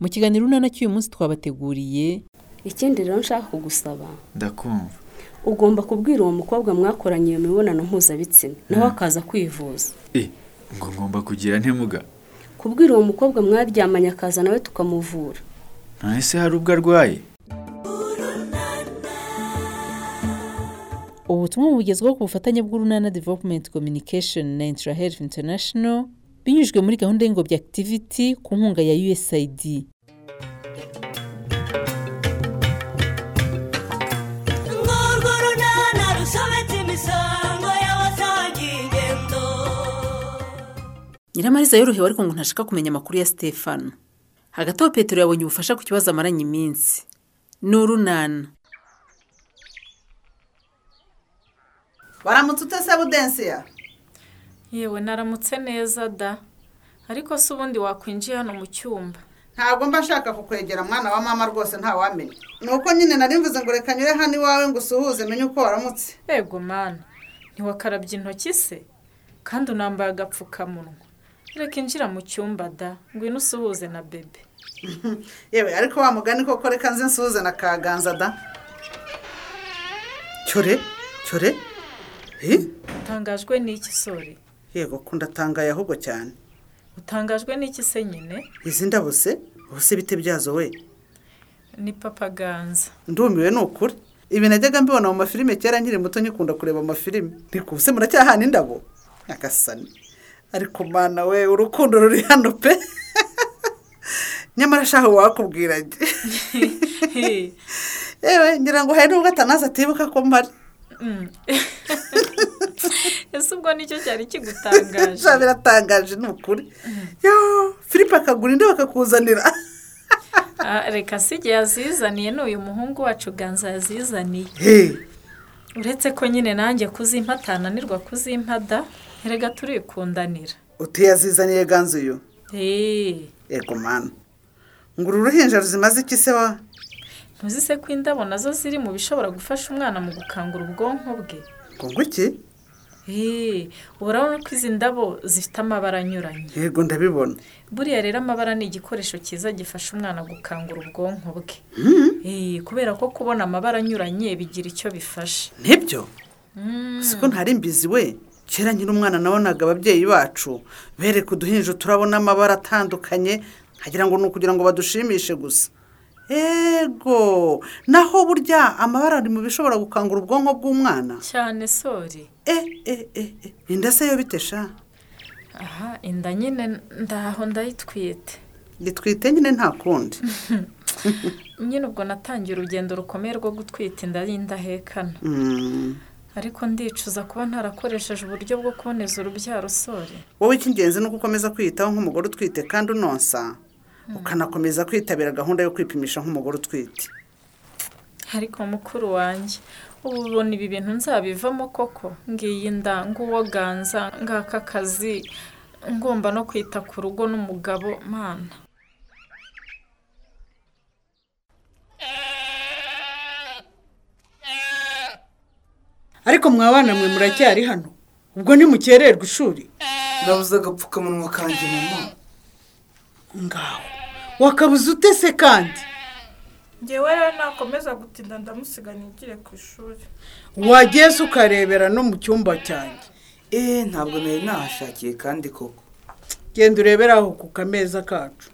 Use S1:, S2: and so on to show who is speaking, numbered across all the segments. S1: Mu kiganiro urunana cy'uyu munsi twabateguriye
S2: ikindi rero nshaka kugusaba
S3: ndakumva
S2: ugomba kubwira uwo mukobwa mwakoranye iyo mibonano mpuzabitsina nawe akaza kwivuza
S3: Eh, ngo ngomba kugira ntemuga
S2: kubwira uwo mukobwa mwaryamanye akaza nawe tukamuvura
S3: ese hari ubwo arwaye
S1: ubutumwa bugezweho ku bufatanye bw'urunana development communication na intra health international binyujijwe muri gahunda y'ingobyi activity ku nkunga ya usaid
S4: urwo runana rusobetse imisango y'abasaga ingendo
S1: nyiramariza yorohewe ariko ngo ntashaka kumenya amakuru ya stefano hagati aho petero yabonye ubufasha ku kibazo amaranye iminsi ni urunana
S5: waramutse utese budensiya
S6: yewe naramutse neza da ariko se ubundi wakwinjiye hano mu cyumba
S5: ntabwo mba nshaka kukwegera mwana wa mama rwose ntawamenya ni uko nyine nari mvuze ngo reka nyure hano iwawe ngo usuhuze menye uko waramutse
S6: ego mana ntiwakarabye intoki se kandi unambaye agapfukamunwa reka injira mu cyumba da ngwino usuhuze na bebe
S5: "Hmm, yewe ariko wa mugani koko reka nze nsuhuze na kaganza da cyore cyore Eh?
S6: utangajwe n'iki sore
S5: yego kundatangaye ahubwo cyane
S6: utangajwe n'iki se nyine
S5: izi ndabo se ubu se ibiti byazo we
S6: ni papa ganza
S5: ndumiwe ni ukuri ibi najyaga mbibona mu mafilime kera nkiri muto nyikunda kureba amafilime ntiku se muracyahana indabo nyagasani ariko mana we urukundo ruri hano pe nyamara shaho wakubwira njye
S6: Hey,
S5: yewe ngira ngo hari n'ubwo atanaza atibuka ko mpari
S6: mm. ese ubwo nicyo cyari kigutangaje
S5: sha biratangaje ni ukuri yo filipe akagura indabo akakuzanira
S6: Ah, reka si igihe yazizaniye ni uyu muhungu wacu ganza yazizaniye
S5: Hey,
S6: uretse ko nyine nanjye kuzimpa atananirwa kuzimpa da erega turikundanira
S5: utiyazizaniye ganzu yo
S6: eee
S5: yego mana ngo uru ruhinja ruzimaze iki se wa
S6: ntuzi se ko indabo nazo ziri mu bishobora gufasha umwana mu gukangura ubwonko bwe
S5: ngo ngwiki
S6: eee urabona ko izi ndabo zifite amabara anyuranye
S5: yego ndabibona
S6: buriya rero amabara ni igikoresho cyiza gifasha umwana gukangura ubwonko bwe eee kubera ko kubona amabara anyuranye bigira icyo bifasha Mm,
S5: nibyo Mm. siko ntari mbizi we kera nkiri umwana nabonaga ababyeyi bacu bereka uduhinja turabona amabara atandukanye nkagira ngo ni ukugira ngo badushimishe gusa ego naho burya amabara ari mu bishobora gukangura ubwonko bw'umwana
S6: cyane sori
S5: e e e e inda se yo bitesha
S6: aha inda nyine ndaho ndayitwite
S5: gitwite nyine nta kundi
S6: nyine ubwo natangiye urugendo rukomeye rwo gutwita inda y'indahekana
S5: Mm.
S6: ariko ndicuza kuba ntarakoresheje uburyo bwo kuboneza urubyaro sore
S5: wowe icy'ingenzi ni uko ukomeza kwiyitaho nk'umugore utwite kandi unonsa
S6: Hmm.
S5: ukanakomeza kwitabira gahunda yo kwipimisha nk'umugore utwite
S6: ariko mukuru wanjye ubu ubona ibi bintu nzabivamo koko ngiyi nda nguwo ganza ngaka kazi ngomba no kwita ku rugo n'umugabo mana
S7: ariko mwabana mwe muracyari hano ubwo ntimukererwa ishuri
S8: nabuze agapfukamunwa kanjye mama
S7: ngaho wakabuze utese kandi
S9: ngewe rero nakomeza gutinda ndamusiga nigire ku ishuri
S7: wagiye se ukarebera no mu cyumba cyanjye
S8: eee Eh, ntabwo nari nahashakiye kandi koko
S7: genda urebere aho ku kameza kacu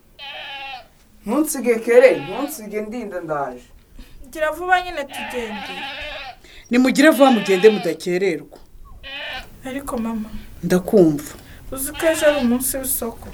S8: ntunsige kere ntunsige ndinda ndaje
S9: gira vuba nyine tugende
S7: nimugire vuba mugende mudakererwa
S9: ariko mama
S7: ndakumva
S9: uzi ko ejo ari umunsi w'isoko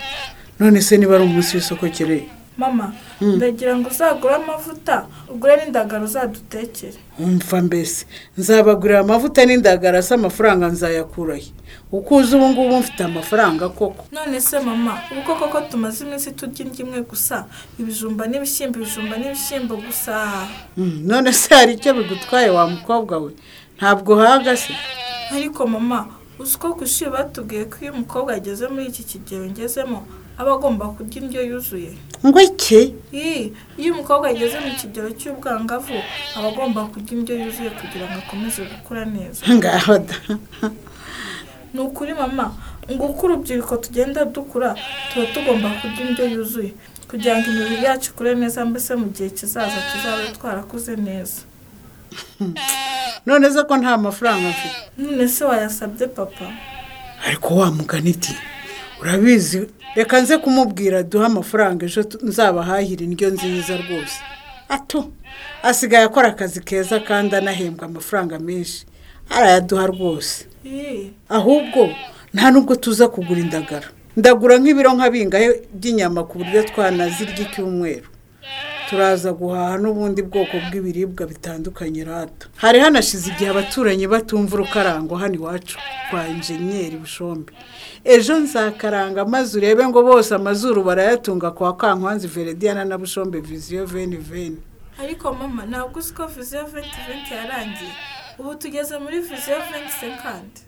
S7: none se niba ari umunsi w'isoko kereye
S9: mama ndagira ngo uzagure amavuta ugure n'indagara uzadutekere
S7: umva mbese nzabagurira amavuta n'indagara se amafaranga nzayakurahe uko uzi ubu ngubu mfite amafaranga koko
S9: none se mama ubwo koko tumaze iminsi turya indyo imwe gusa ibijumba n'ibishyimbo ibijumba n'ibishyimbo gusa
S7: Mm, none se hari icyo bigutwaye wa mukobwa we ntabwo uhaga se
S9: ariko mama uzi ko ku ishuri batubwiye ko iyo umukobwa ageze muri iki kigero ngezemo aba agomba kurya indyo yuzuye
S7: ngo iki
S9: Ii, iyo umukobwa ageze mu kigero cy'ubwangavu aba agomba kurya indyo yuzuye kugira ngo akomeze gukura neza
S7: ngaho da
S9: ni ukuri mama ngo uko urubyiruko tugenda dukura tuba tugomba kurya indyo yuzuye kugira ngo imibiri yacu ikure neza mbese mu gihe kizaza tuzabe twarakuze neza
S7: none se ko nta mafaranga mfite
S9: none se wayasabye papa
S7: ariko wamugana iti urabizi reka nze kumubwira duhe amafaranga ejo tu- nzabahahire indyo nziza rwose ato asigaye akora akazi keza kandi anahembwa amafaranga menshi arayaduha rwose
S9: Ii,
S7: ahubwo nta nubwo tuza kugura indagara ndagura nk'ibiro nka bingahe by'inyama ku buryo twanazirya icyumweru turaza guhaha n'ubundi bwoko bw'ibiribwa bitandukanye rato hari hanashize igihe abaturanyi batumva urukarango hano iwacu kwa injeniyeri bushombe ejo nzakaranga maze urebe ngo bose amazuru barayatunga kwa kankwanzi verediyana na bushombe viziyo veni veni
S9: ariko mama ntabwo uzi ko viziyo venti venti yarangiye ubu tugeze muri viziyo venti sekandi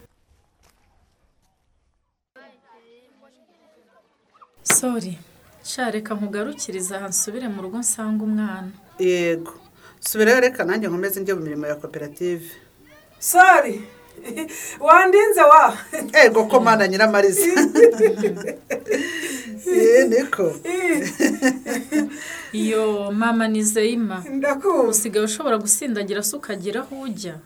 S6: sori shareka nkugarukiriza aha nsubire mu rugo nsanga umwana
S5: yego subirayo reka nanjye nkomeze njye mu mirimo ya koperative
S8: sari wandinze wa
S5: ego ko mana nyiramariza Eh, niko
S6: iyo mama ni zeyima
S8: ndakuzi
S6: usigaye ushobora gusindagira se ukagira aho ujya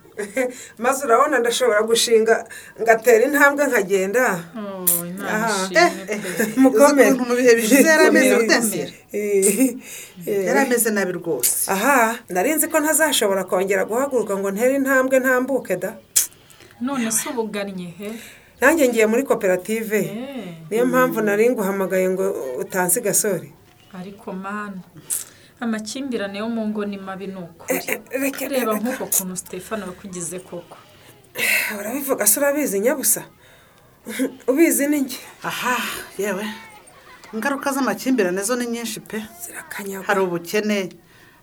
S8: maze urabona ndashobora gushinga ngatera intambwe nkagenda
S6: Oh,
S8: Aha. Eh,
S6: imana ishimwe pe.
S5: Uzi ukuntu mu bihe bishize yari ameze rudasira yari
S8: mukomere
S5: ameze nabi rwose
S8: Eh. aha narinzi ko ntazashobora kongera guhaguruka ngo ntere intambwe ntambuke da
S6: none se ubugannye he
S8: nanjye ngiye muri koperative
S6: Eh.
S8: niyo mpamvu nari nguhamagaye ngo utansi gasore
S6: ariko mani amakimbirane yo mu ngo ni mabi ni ukuri
S8: Eh, reka-
S6: reba nk'uko kuntu stefano yakugize koko
S8: Ah, urabivuga se urabizi nyabusa ubizi ni njye
S5: aha Ah, yewe ingaruka z'amakimbirane zo ni nyinshi pe
S8: zirakanyaga
S5: hari ubukene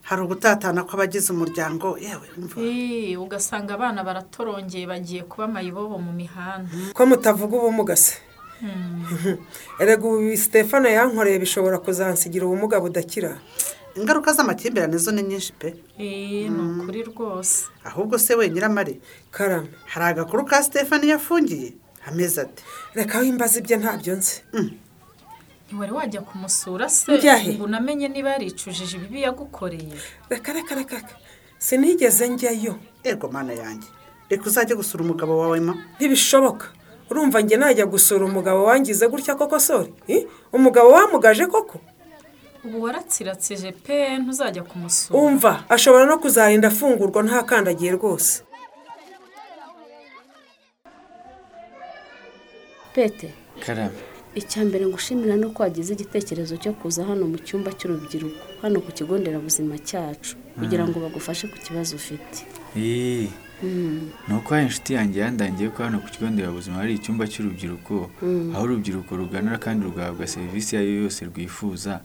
S5: hari ugutatana kw'abagize umuryango yewe umva
S6: Eh, ugasanga abana baratorongeye bagiye kuba amayibobo mu mihanda Hmm.
S8: ko mutavuga ubumuga se erega ubu sitefano yankoreye bishobora kuzansigira ubumuga budakira
S5: ingaruka z'amakimbirane zo ni nyinshi pe
S6: Eh, ni ukuri rwose
S5: Mm. ahubwo se we nyiramari
S8: karame
S5: hari agakuru ka sitefani yafungiye ameze Mm. ati
S8: reka aho imbaza ibyo ntabyo nzi
S6: ntiwari wajya kumusura se
S8: Njya he?
S6: ngo unamenye niba yaricujije ibibi yagukoreye
S8: reka reka reka reka. sinigeze njyayo
S5: ego mana yanjye reka uzajye gusura umugabo wawe ma
S8: ntibishoboka urumva njye najya gusura umugabo wangize gutya koko sori Eh? umugabo wamugaje koko
S6: ubu waratsiratsije pe ntuzajya kumusura
S8: umva ashobora no kuzarinda afungurwa ntakandagiye rwose
S2: pete
S3: karame
S2: icya mbere ngushimira ni uko wagize igitekerezo cyo kuza hano mu cyumba cy'urubyiruko hano ku kigo nderabuzima cyacu kugira ngo bagufashe ku kibazo ufite
S3: eee ni uko hari inshuti yanjye yandangiye ko hano ku kigo nderabuzima hari icyumba cy'urubyiruko aho urubyiruko ruganira kandi rugahabwa serivisi iyo ari yo yose rwifuza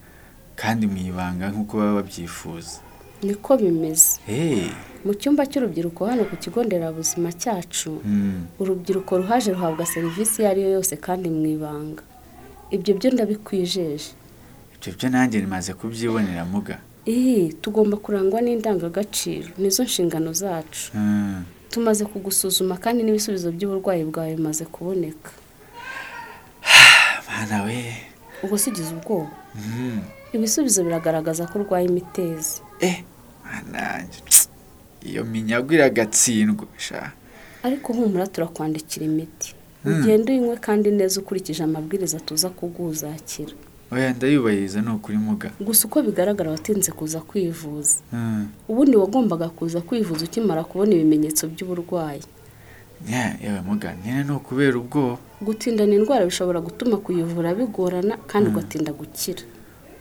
S3: kandi mu ibanga nk'uko baba babyifuza
S2: niko bimeze
S3: eee
S2: mu cyumba cy'urubyiruko hano ku kigo nderabuzima cyacu
S3: hmm,
S2: urubyiruko ruhaje ruhabwa serivisi iyo ari yo yose kandi mu ibanga ibyo byo ndabikwijeje
S3: ibyo byo nanjye nimaze kubyibonera muga
S2: iyi tugomba kurangwa n'indangagaciro nizo nshingano zacu
S3: Mm.
S2: tumaze kugusuzuma kandi n'ibisubizo by'uburwayi bwawe bimaze kuboneka
S3: mana we
S2: ubwo si ugize ubwoba
S3: Mm.
S2: ibisubizo biragaragaza ko urwaye imitezi
S3: eh mana yanjye iyo minyago iragatsindwa sha
S2: ariko humura turakwandikira imiti
S3: Hmm.
S2: ugende uyinywe kandi neza ukurikije amabwiriza tuza kuguhuzakira
S3: oya ndayubahiriza ni ukuri muga
S2: gusa uko bigaragara watinze kuza kwivuza
S3: Mm.
S2: ubundi wagombaga kuza kwivuza ukimara kubona ibimenyetso by'uburwayi
S3: Yeah, yewe muga nyine ni ukubera ubwoba
S2: gutindana indwara bishobora gutuma kuyivura bigorana kandi ugatinda gukira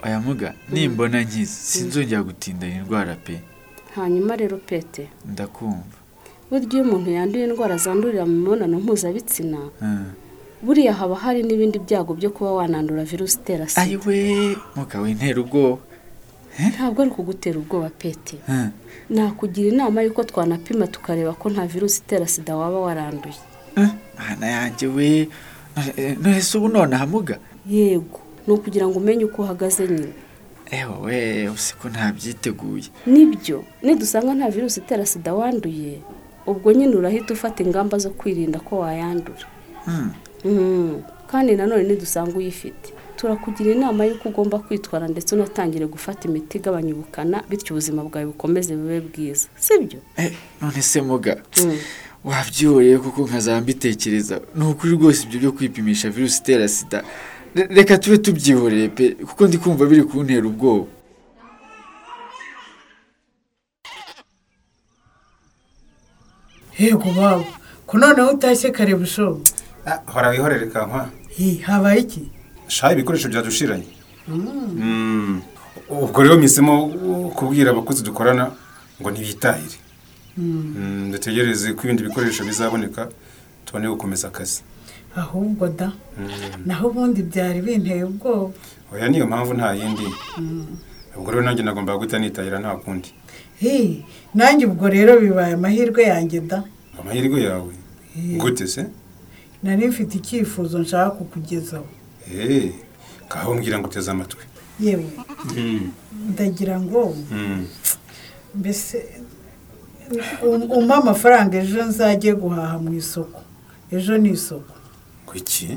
S3: oya muga nimbona nkizi sinzongera gutinda iyi ndwara pe
S2: hanyuma rero pete
S3: ndakumva
S2: burya iyo umuntu yanduye indwara zandurira mu mibonano mpuzabitsina
S3: Mm.
S2: buriya haba hari n'ibindi byago byo kuba wanandura virusi itera
S3: ayi
S2: sida
S3: we Eh? muga wintera ubwoba
S2: ntabwo ari kugutera ubwoba pete
S3: Mm.
S2: nakugira inama y'uko twanapima tukareba ko nta virusi itera sida waba waranduye
S3: Mm. mana yanjye we None- none se ubu nonaha muga
S2: yego ni ukugira ngo umenye uko uhagaze nyine
S3: ewe we usiko ntabyiteguye
S2: nibyo nidusanga nta virusi itera sida wanduye ubwo nyine urahita ufata ingamba zo kwirinda ko wayandura Mm-hmm.
S3: Mm.
S2: Mm, kandi nanone nidusanga uyifite turakugira inama y'uko ugomba kwitwara ndetse unatangire gufata imiti igabanya ubukana bityo ubuzima bwawe bukomeze bube bwiza sibyo Mm.
S3: none se muga wabyihoreye kuko nkazaba mbitekereza ni ukuri rwose ibyo byo kwipimisha virusi itera sida Re- reka tube tubyihoreye pe kuko ndi kumva biri kuntera ubwoba
S7: yego baba ko noneho utashye kare bushobo
S10: Ah, hora wihorere kankwa
S7: Hi, habaye iki
S10: shaha ibikoresho byadushiranye
S7: Hmm.
S10: Mm. ubwo rero mpisemo kubwira abakozi dukorana ngo ntibitahire
S7: Hmm.
S10: Mm, dutegereze ko ibindi bikoresho bizaboneka tubone gukomeza akazi
S7: ahubwo da naho ubundi byari binteye ubwoba
S10: oya niyo mpamvu nta yindi ubwo rero nanjye nagombaga guhita nitahira nta kundi
S7: hi nanjye ubwo rero bibaye amahirwe yanjye da
S10: amahirwe yawe gute se
S7: nari mfite icyifuzo nshaka kukugezaho
S10: Eh, kaho mbwira ngo uteze amatwi
S7: yewe
S10: Mm.
S7: ndagira ngo
S10: Mm.
S7: mbese um- umpe amafaranga ejo nzajye guhaha mu isoko ejo ni isoko
S10: ngo iki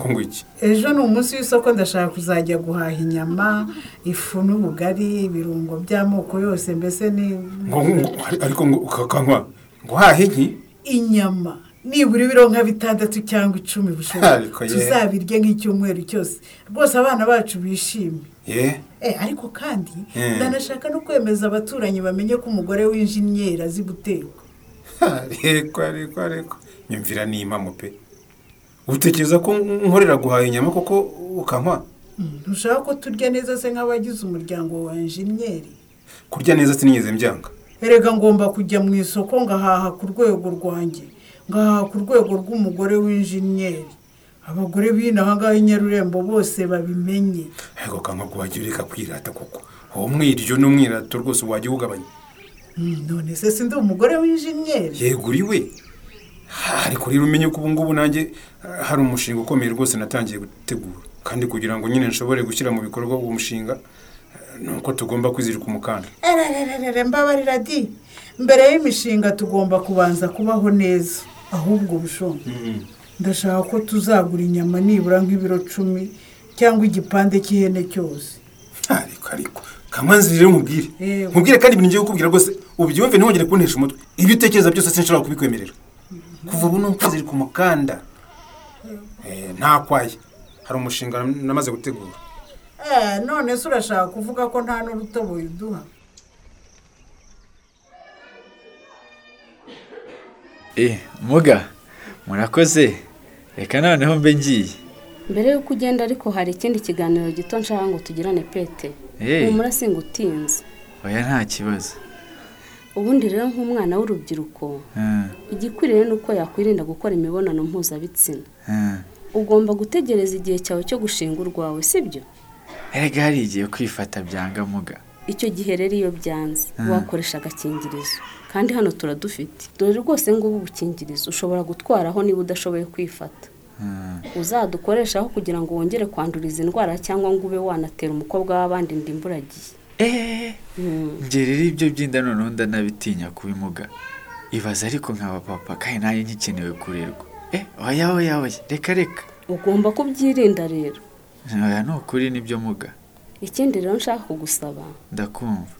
S10: ngo ngo iki
S7: ejo ni umunsi w'isoko ndashaka kuzajya guhaha inyama ifu n'ubugari ibirungo by'amoko yose mbese ni
S10: ngo ngo- ariko ngo ukakanywa ngo uhahe iki
S7: inyama nibura ibiro nka bitandatu cyangwa icumi bushoboka
S10: Ariko ye.
S7: tuzabirya nk'icyumweru cyose rwose abana bacu bishime
S10: ye
S7: Eh, ariko kandi
S10: Eh.
S7: ndanashaka no kwemeza abaturanyi bamenye ko umugore w'injinyeri azi guteka
S10: reko reko reko nyumvira n'impamo pe utekereza ko nkorera guhaha inyama koko ukanywa
S7: ntushaka ko turya neza se nk'abagize umuryango wa injinyeri
S10: kurya neza sinigeze mbyanga
S7: erega ngomba kujya mu isoko ngahaha ku rwego rwanjye ngahaha ku rwego rw'umugore w'injinyeri abagore b'ino aha ngaha i nyarurembo bose babimenye
S10: ariko ukanywa ngo wajya ureka kwirata koko uwo mwiryo n'umwirato rwose wajya uwugabanya
S7: Mm, none se sindi umugore w'injinyeri
S10: yego uri we Ha, ariko rero umenye ko ubu ngubu nanjye ah, hari umushinga ukomeye rwose natangiye gutegura kandi kugira ngo nyine nshobore gushyira mu bikorwa uwo mushinga eh, ni uko tugomba kwizirika umukanda
S7: Eh, erererere mbabarira di mbere y'imishinga tugomba kubanza kubaho neza ahubwo bushonga ndashaka ko tuzagura inyama nibura nk'ibiro cumi cyangwa igipande cy'ihene cyose
S10: ariko ariko kamanzi rero nkubwire
S7: Yego.
S10: nkubwire kandi ibintu ngiye kukubwira rwose ubyumve ntiwongere kuntesha umutwe ibyo utekereza byose sinshobora kubikwemerera kuva ubu ni ukuzirika umukanda Eh, nta kwaye hari umushinga namaze gutegura
S7: Eh, none se urashaka kuvuga ko nta n'urutoboye uduha
S3: eh muga murakoze reka noneho mbe ngiye
S2: mbere y'uko ugenda ariko hari ikindi kiganiro gito nshaka ngo tugirane pete
S3: Eh.
S2: humura singutinze
S3: oya nta kibazo
S2: ubundi rero nk'umwana w'urubyiruko
S3: Ah,
S2: igikwiriye ni uko yakwirinda gukora imibonano mpuzabitsina
S3: ah.
S2: ugomba gutegereza igihe cyawe cyo gushinga urwawe sibyo
S3: erega harigiye kwifata byanga muga
S2: icyo gihe rero iyo byanze wakoresha agakingirizo kandi hano turadufite dore rwose ngubu ubukingirizo ushobora gutwaraho niba udashoboye kwifata
S3: Ah,
S2: uzadukoreshaho kugira ngo wongere kwandura izi ndwara cyangwa ngo ube wanatera umukobwa w'abandi inda imburagihe
S3: eh
S2: Mm.
S3: njye rero ibyo by'inda noneho ndanabitinya kubimuga ibaza ariko nkaba papa kandi nayo nkikenewe kurerwa eh oya oya oya reka reka
S2: ugomba kubyirinda rero
S3: oya ni ukuri nibyo muga
S2: ikindi rero nshaka kugusaba
S3: ndakumva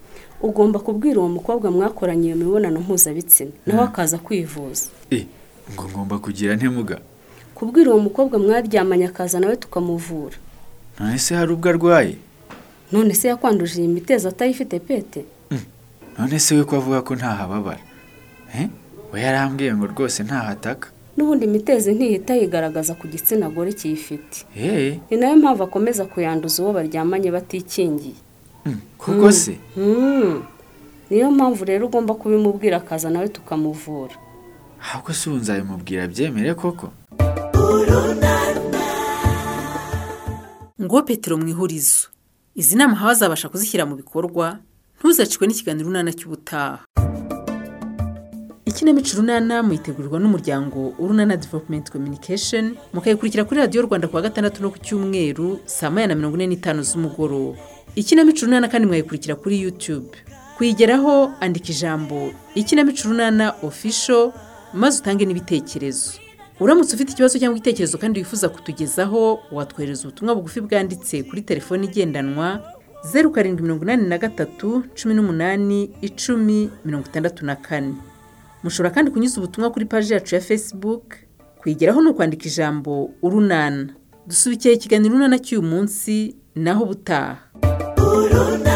S2: ugomba kubwira uwo mukobwa mwakoranye iyo mibonano mpuzabitsina nawe akaza kwivuza
S3: eh ngo ngomba kugira nte muga
S2: kubwira uwo mukobwa mwaryamanye akaza nawe tukamuvura
S3: none se hari ubwo arwaye
S2: none se yakwanduje iyi mitezi atayifite pete
S3: none se we ko avuga ko ntahababara eh we yarambwiye ngo rwose ntahataka
S2: n'ubundi imitezi ntihita yigaragaza ku gitsina gore kiyifite
S3: eh
S2: ni nayo mpamvu akomeza kuyanduza uwo baryamanye batikingiye
S3: mm, kuko se
S2: Hmm. niyo mpamvu rero ugomba kubimubwira akaza nawe tukamuvura
S3: ahubwo se ubu nzabimubwira byemere koko
S1: ngo petero mu ihurizo izi nama aha bazabasha kuzishyira mu bikorwa ntuzacikwe n'ikiganiro urunana cy'ubutaha ikinamico urunana muyitegurwa n'umuryango urunana development communication mukayikurikira kuri radiyo rwanda kuwa gatandatu no ku cyumweru saa moya na mirongo ine n'itanu z'umugoroba ikinamico urunana kandi mwayikurikira kuri youtube kuyigeraho andika ijambo ikinamico urunana official maze utange n'ibitekerezo uramutse ufite ikibazo cyangwa igitekerezo kandi wifuza kutugezaho watwohereza ubutumwa bugufi bwanditse kuri telefone igendanwa zeru karindwi mirongo inani na gatatu cumi n'umunani icumi mirongo itandatu na kane mushobora kandi kunyuza ubutumwa kuri paji yacu ya facebook kwigeraho ni ukwandika ijambo urunana dusubikiye ikiganiro urunana cy'uyu munsi naho ubutaha